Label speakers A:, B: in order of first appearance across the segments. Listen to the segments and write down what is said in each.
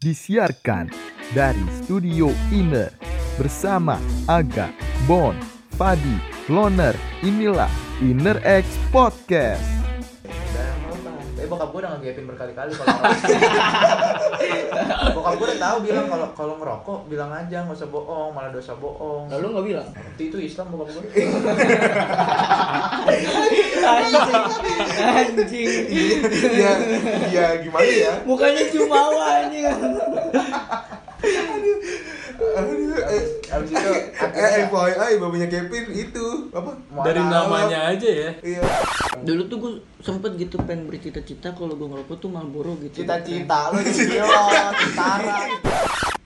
A: disiarkan dari Studio Inner bersama Aga, Bon, Fadi, Loner. Inilah Inner X Podcast.
B: Udah nonton. Tapi Eh, bokap gue udah ngegapin berkali-kali kalau Bokap gue udah tahu bilang kalau kalau ngerokok bilang aja nggak usah bohong, malah dosa bohong.
C: Lalu nggak bilang?
B: Waktu itu Islam bokap gue.
C: Anjing, anjing.
D: ya ya gimana ya
C: Mukanya jumawa anjing.
D: Aduh, eh,
B: Abis itu
D: eh FYI babanya Kevin itu apa
E: dari
D: Mohon maaf.
E: namanya aja ya
D: iya
C: Dulu tuh gue sempet gitu pengen bercita-cita kalau gue ngerokok tuh Marlboro gitu.
B: cita-cita lu gila, tentara.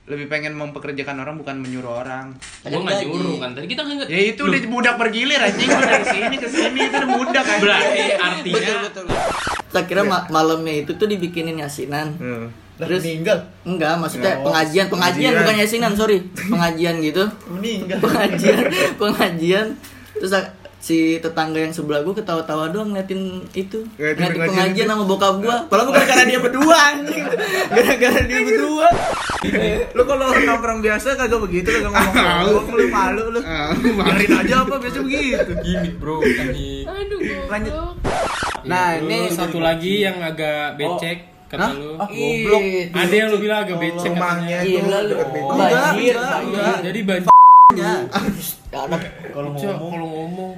F: lebih pengen mempekerjakan orang bukan menyuruh orang.
C: Tadi
E: gua nggak
C: lagi.
E: nyuruh kan tadi kita nggak
F: Ya itu udah budak bergilir anjing Gua dari sini ke sini itu udah budak anjing.
E: berarti artinya
C: Betul betul. Saya kira ma- malamnya itu tuh dibikinin yasinan.
D: Hmm.
C: Terus meninggal? Enggak, maksudnya pengajian, pengajian,
D: pengajian.
C: bukan yasinan, sorry. Pengajian gitu. Meninggal. Pengajian, pengajian. Terus a- si tetangga yang sebelah gua ketawa-tawa doang ngeliatin itu
D: Ngeliatin
C: ngeliatin
D: pengajian
C: pengajian
D: itu.
C: sama bokap gua Iya. padahal bukan karena dia berdua anjing gara-gara dia berdua Iya.
B: Lu kalau nongkrong biasa kagak begitu kagak ngomong-ngomong lu malu lu. Biarin aja Ya, apa biasa begitu.
E: gimmick bro gimmick
G: Aduh,
B: Lanjut.
G: goblok.
B: Nah,
C: Iya,
E: Ya,
B: ini
E: lu satu lagi yang agak becek kata lu
B: Oh, Ah, Goblok.
E: ada yang lu bilang agak becek
D: rumahnya
E: katanya
D: itu
C: Gila lu.
D: dekat BTS.
C: Enggak,
B: Banjir,
C: enggak,
B: banjir.
C: enggak.
E: jadi banyak
C: Ya, anak
E: kalau ngomong kalau ngomong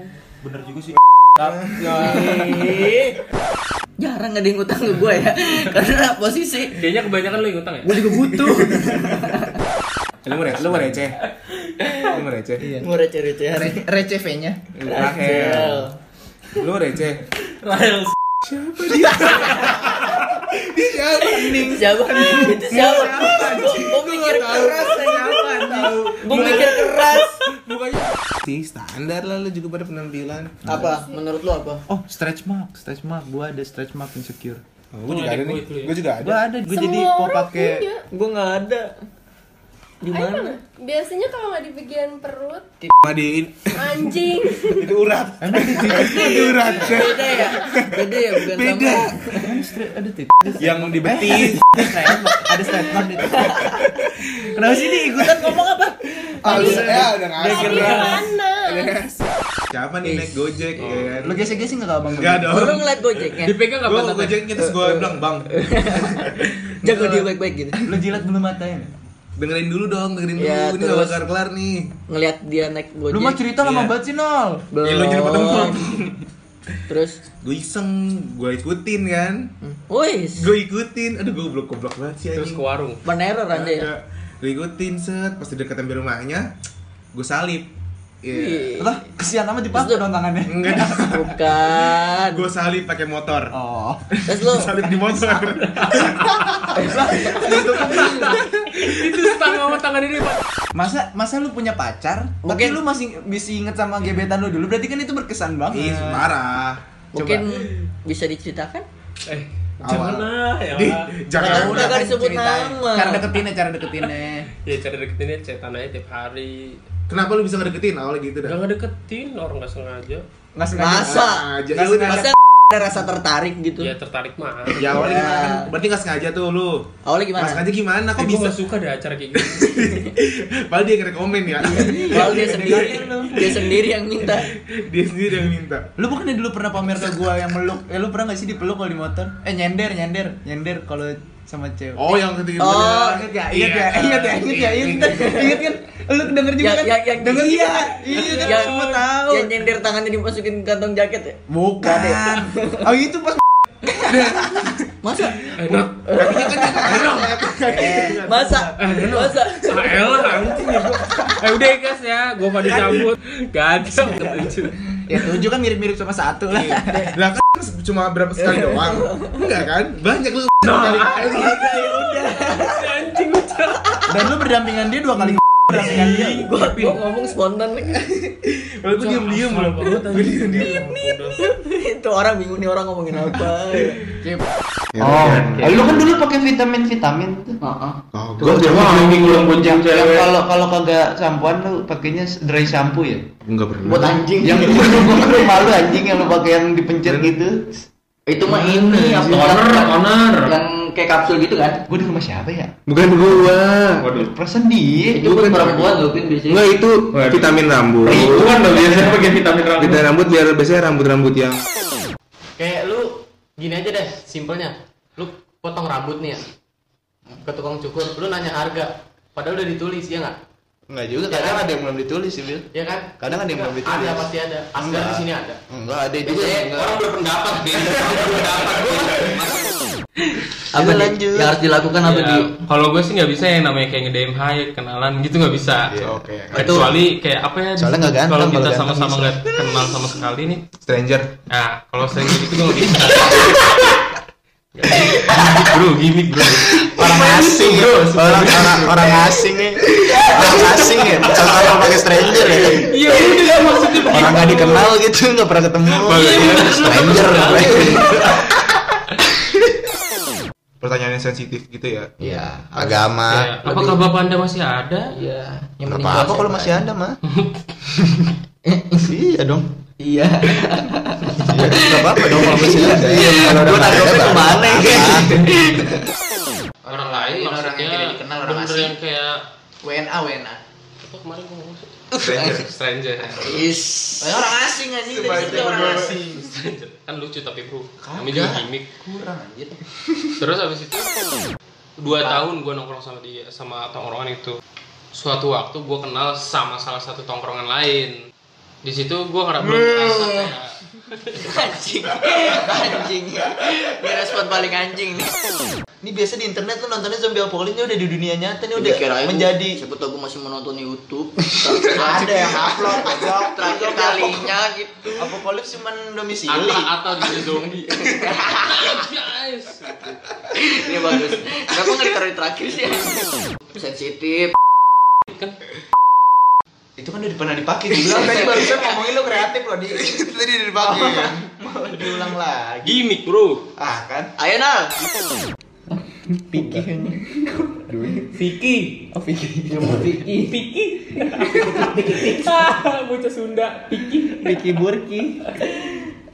C: jarang ada yang ngutang ke gue ya karena posisi
E: kayaknya kebanyakan lu yang ngutang ya
C: gue juga butuh
D: lu mere- lu mereceh lu mereceh
C: gue receh-recehan
B: Receh V-nya.
D: Rahel lu mereceh
E: Rahel
C: siapa itu siapa gue mikir keras gue mikir keras
D: mukanya sih standar lah lu juga pada penampilan Nah.
C: apa menurut lo apa
B: Oh, stretch mark, stretch mark. Gua ada stretch mark insecure.
D: Oh, gue juga
E: ada
D: ada
E: gue
D: nih
E: itu ya.
D: gue juga ada
B: Gua ada, gua jadi
G: Semua
B: mau
G: orang
B: pakai
G: punya.
C: gue nggak ada di
G: Ayo
C: mana
G: mana? Biasanya kalau nggak di bagian perut,
D: madiin
G: anjing.
D: itu urat itu urat
C: beda ya beda ya bukan
D: Beda.
C: sama
B: ada titik
D: yang di betis
B: ada statement di titik kenapa sih ini ikutan ngomong apa
D: ah lu ya udah ngasih
G: Tadi mana?
D: siapa nih naik gojek ya kan?
B: Eh, lu gesek gesek nggak bang
D: Enggak dong.
C: lo ngeliat ya? gojeknya
E: dipegang nggak
D: Gue
E: pantatnya
D: gojeknya terus gue bilang bang
C: jago dia baik-baik gitu
B: lu jilat belum matanya
D: dengerin dulu dong dengerin dulu
C: Ya,
D: ini gak
C: terus.
D: bakal kelar nih
C: ngeliat dia naik gojek
B: lu mah cerita lama banget sih nol
D: Ya lu jadi
C: belum
D: potong-potong.
C: terus
D: gue iseng gue ikutin kan
C: woi
D: gue ikutin aduh gue goblok goblok banget sih
E: terus ke warung
C: peneror anda
D: Iya.
C: ya
D: gue ikutin set pas udah ketemu rumahnya gue salib
C: Ih,
D: Iya.
B: lah kesian amat dipakai dong tangannya
D: enggak
C: bukan
D: gue salib pakai motor
B: oh
C: terus lo
D: salib di motor
E: itu tangan sama tangan ini pak
B: masa masa lu punya pacar
C: Mungkin-
B: tapi lu masih bisa inget sama gebetan lu dulu berarti kan itu berkesan
D: ih
H: Iya,
B: banget
D: marah
C: mungkin bisa diceritakan
E: eh
D: Awal.
E: jangan lah ya
D: Di,
E: lah.
C: Jangan
D: jangan
C: udah kan disebut
B: ceritain.
C: nama.
B: cara deketinnya cara deketinnya
E: ya cara deketinnya cetan aja tiap hari
D: kenapa lu bisa ngedeketin awalnya gitu
E: Gak
D: dah
E: ngedeketin orang nggak sengaja
B: nggak sengaja
C: masa
D: aja.
C: Masa-
D: Ya udah.
C: masa ada rasa tertarik gitu
E: ya tertarik mah
D: ya awalnya gimana kan berarti nggak sengaja tuh lu
C: awalnya
D: nggak
C: gimana
D: sengaja gimana
E: Aku
D: kok
E: bisa
D: bisa
E: suka deh acara kayak gitu
D: padahal dia yang komen ya
C: Kalau dia sendiri, dia sendiri yang minta.
D: dia sendiri yang minta
B: lu bukannya dulu pernah pamer ke gua yang meluk eh lu pernah nggak sih dipeluk kalau di motor eh nyender nyender nyender kalau sama cewek
D: Oh, yang Iya. ketiga
C: Oh,
B: Ingat
H: iya,
B: ya, ingat ya, ingat ya, ingat ya, ingat
D: Iya.
B: kan? ingat kan? Lu denger juga
C: Ya,
B: kan?
C: ya, yang
B: denger
C: iya,
B: iya kan
C: yang
B: semua tahu.
C: Yang nyender tangannya dimasukin ke kantong jaket ya.
B: Bukan. Oh itu pas
C: Masa?
E: enak
C: Masa? Masa?
E: ah elah anjing ya gua eh udah ya guys ya gua pada cabut gacang lucu
B: ya tujuh kan mirip-mirip sama satu lah.
D: Lah kan cuma berapa sekali doang? Enggak kan? Banyak lu sekali.
E: anjing lucu
B: Dan lu berdampingan dia dua kali berdampingan dia.
C: Gua, gua ngomong spontan nih.
D: Kalau gue diam-diam
E: Asal
D: loh.
E: banget
D: Gue diam-diam.
C: Itu orang bingung nih orang ngomongin apa. ya.
I: Oh, eh, lu kan dulu pakai vitamin-vitamin tuh. Heeh.
D: Iya, Oh,
I: Gua coba bonceng cewek. Kalau kalau kagak sampoan lu pakainya dry shampoo ya?
D: Enggak pernah.
I: Buat anjing. Yang itu lu buat rumah lu anjing yang lu pakai yang dipencet gitu.
C: Itu mah ini apa?
I: Toner, toner. Yang kayak kapsul gitu kan gue di rumah siapa ya
D: Bukan gua.
E: Waduh.
I: perasaan dia
C: itu pun perempuan loh pin biasanya
D: Enggak itu
E: Waduh.
D: vitamin rambut.
E: Bukan
I: kan
E: dong biasanya pakai vitamin rambut.
D: Vitamin rambut biar biasanya rambut-rambut yang
H: Kayak lu gini aja deh, simpelnya. Lu potong rambut nih ya. Ke tukang cukur, lu nanya harga. Padahal udah ditulis, ya nggak?
F: Enggak juga, kadang ada yang belum ditulis sih, Bil.
H: Ya kan?
F: Kadang ada yang belum ditulis.
H: Ada pasti ada. Asgar di
F: Enggak.
H: sini ada.
F: Enggak ada juga.
H: Biasanya
F: enggak.
H: orang berpendapat, Bin. Orang berpendapat.
C: apa nih?
F: lanjut.
C: yang harus dilakukan apa
E: Ya,
C: di
E: kalau gue sih nggak bisa yang namanya kayak nge-DM hai kenalan gitu nggak bisa.
D: oke.
E: Kecuali kayak apa ya?
F: Iya, Soalnya nggak ganteng,
E: Kalau
F: kalau
E: kita
F: ganteng
E: sama-sama
F: bisa.
E: nggak kenal sama sekali nih.
D: stranger.
E: Nah, kalau sering gitu gue nggak bisa. Gimik bro, gimik bro.
F: orang asing ya. Orang orang orang asing nih. Orang asing ya. Contohnya pakai stranger ya.
E: Iya udah ya maksudnya Iya, begitu.
F: Orang nggak dikenal gitu, nggak pernah ketemu. Iya, Stranger ngapain?
D: Pertanyaan yang sensitif gitu ya.
F: Iya, agama.
E: Ya, apakah bapak anda masih ada?
C: iya yang
F: Kenapa
C: meninggal
F: apa kalau
C: siapa?
F: masih ada mah? iya dong.
C: iya
F: Iya, nggak apa-apa dong kalau masih ada. Iya, kalau
C: gue
F: nggak
C: takutnya
F: ada,
C: kemana ya
H: Iya.
E: Orang lain
H: orang
E: maksudnya
H: yang tidak dikenal, orang
E: bener
H: asing.
E: yang kayak
H: WNA, WNA.
E: apa kemarin gue ngomong sih?
D: Stranger.
E: stranger.
C: is
H: Eh, Orang asing anjing dari situ orang asing.
E: Stranger. kan lucu tapi bro, namanya juga gimik.
H: Kurang anjir.
E: Terus habis itu dua tahun gue nongkrong sama dia sama tongkrongan itu. Suatu waktu gue kenal sama salah satu tongkrongan lain. Di situ gue ngerasa belum ngerasa kayak
C: anjing anjing ini respon paling anjing nih
H: Ini biasa di internet tuh nontonnya zombie apocalypse ini udah di dunia nyata nih udah
C: Dikirain gua-
H: menjadi
C: siapa tau gue masih menonton YouTube ada yang upload terakhir kalinya gitu
H: apocalypse cuman domisili.
E: atau atau jadi zombie. Guys.
B: Iya,
C: ini bagus kenapa nggak ditaruh di terakhir sih sensitif
H: Itu kan udah pernah dipakai
B: Iya,
H: diulang tadi barusan ngomongin lu kreatif loh di.
F: Tadi dipakai.
B: Oh,
H: Mau diulang lagi.
E: Gimik bro.
H: Ah kan.
C: ayo nal
E: Vicky.
H: Oh, Vicky.
E: Vicky. Bocah Sunda. Vicky.
H: Vicky Burki.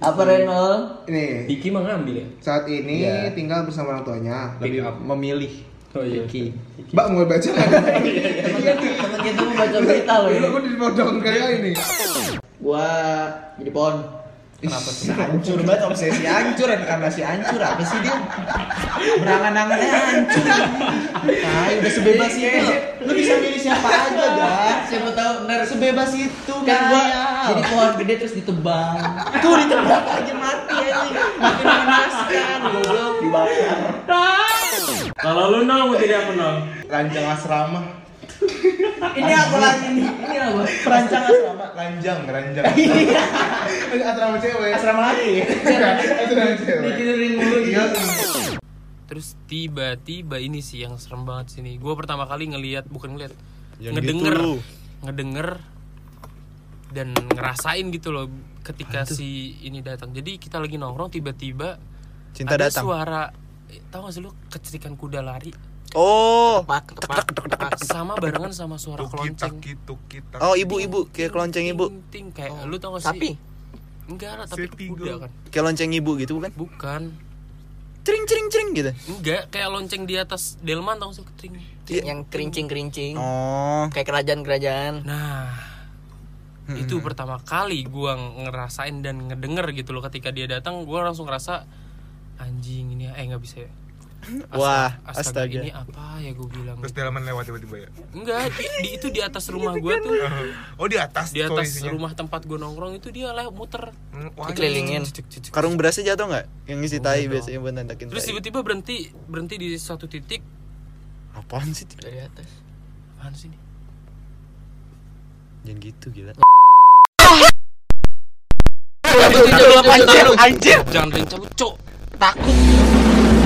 C: apa Renal
D: Nih,
E: Vicky mah ngambil ya.
D: saat ini tinggal bersama orang tuanya.
E: Pick up.
H: Memilih
E: Iya. Oh iya.
D: Mbak mau baca
H: Iya.
C: temen kita mau baca berita loh ya.
D: Aku dipodong kayak ini.
C: gua jadi pohon
H: Kenapa sih? Hancur banget obsesi hancur reinkarnasi hancur apa sih dia? Berangan-angannya hancur. Nah, udah sebebas itu. loh. Lu bisa milih siapa aja, Gak.
C: siapa tahu bener
H: Sebebas itu
C: kan gua
H: Gaya.
C: jadi pohon gede terus ditebang
H: ya. Tuh ditembak aja mati aja Makin mengenaskan Goblok Dibakar
E: Kalau lu nol mau tidak menol.
D: Ranjang asrama.
H: Ini aku lagi nih
C: ini apa
H: Perancang asrama Iya.
D: Ranjang, ranjang. asrama cewek.
H: Asrama lagi
D: Asrama cewek.
C: dikirin mulu gitu
E: Terus tiba-tiba ini sih yang serem banget sini. Gue pertama kali ngelihat bukan ngelihat, ngedenger,
F: gitu.
E: ngedenger dan ngerasain gitu loh ketika si ini datang. Jadi kita lagi nongkrong tiba-tiba
F: Cinta
E: ada
F: datang.
E: suara eh, tahu gak sih lu kecerikan kuda lari
F: Oh,
E: kepak, kepak, sama barengan sama suara kelonceng
A: gitu kita
F: oh ibu-ibu kayak kelonceng ibu,
E: Ting, ting, kayak
F: Oh,
E: lu tau gak sih
C: Sapi?
E: enggak lah tapi kuda kan
F: kayak lonceng ibu gitu
B: kan?
F: bukan?
E: bukan
F: Cering cering cering gitu.
E: enggak kayak lonceng di atas delman tau gak sih ting,
H: Iya.
E: ting.
C: yang kerincing kerincing
F: Oh,
C: kayak kerajaan-kerajaan
E: Nah, itu pertama kali gua ngerasain dan ngedenger gitu loh ketika dia datang, gua langsung ngerasa anjing ini eh nggak bisa ya. Astaga-
F: Wah, astaga.
E: Ini apa ya gue bilang?
A: terus dalaman lewat tiba-tiba ya
E: Enggak, di, di- itu di atas rumah gua tuh.
A: oh di atas
E: Di atas
A: kondisinya.
E: rumah tempat gua nongkrong itu dia lewat muter.
A: Hmm, wah,
C: dikelilingin
E: Cek, cek, cek.
F: karung berasnya jatuh nggak? Yang
E: Oh,
F: ngisi
E: iya
F: tai biasanya buat nantakin
E: Terus
F: tai.
E: tiba-tiba berhenti, berhenti di satu titik.
F: Apaan sih?
C: dari atas
E: Apaan sih ini?
F: Jangan gitu gila.
E: Jangan anjir. Jangan rencang, cok. Takut.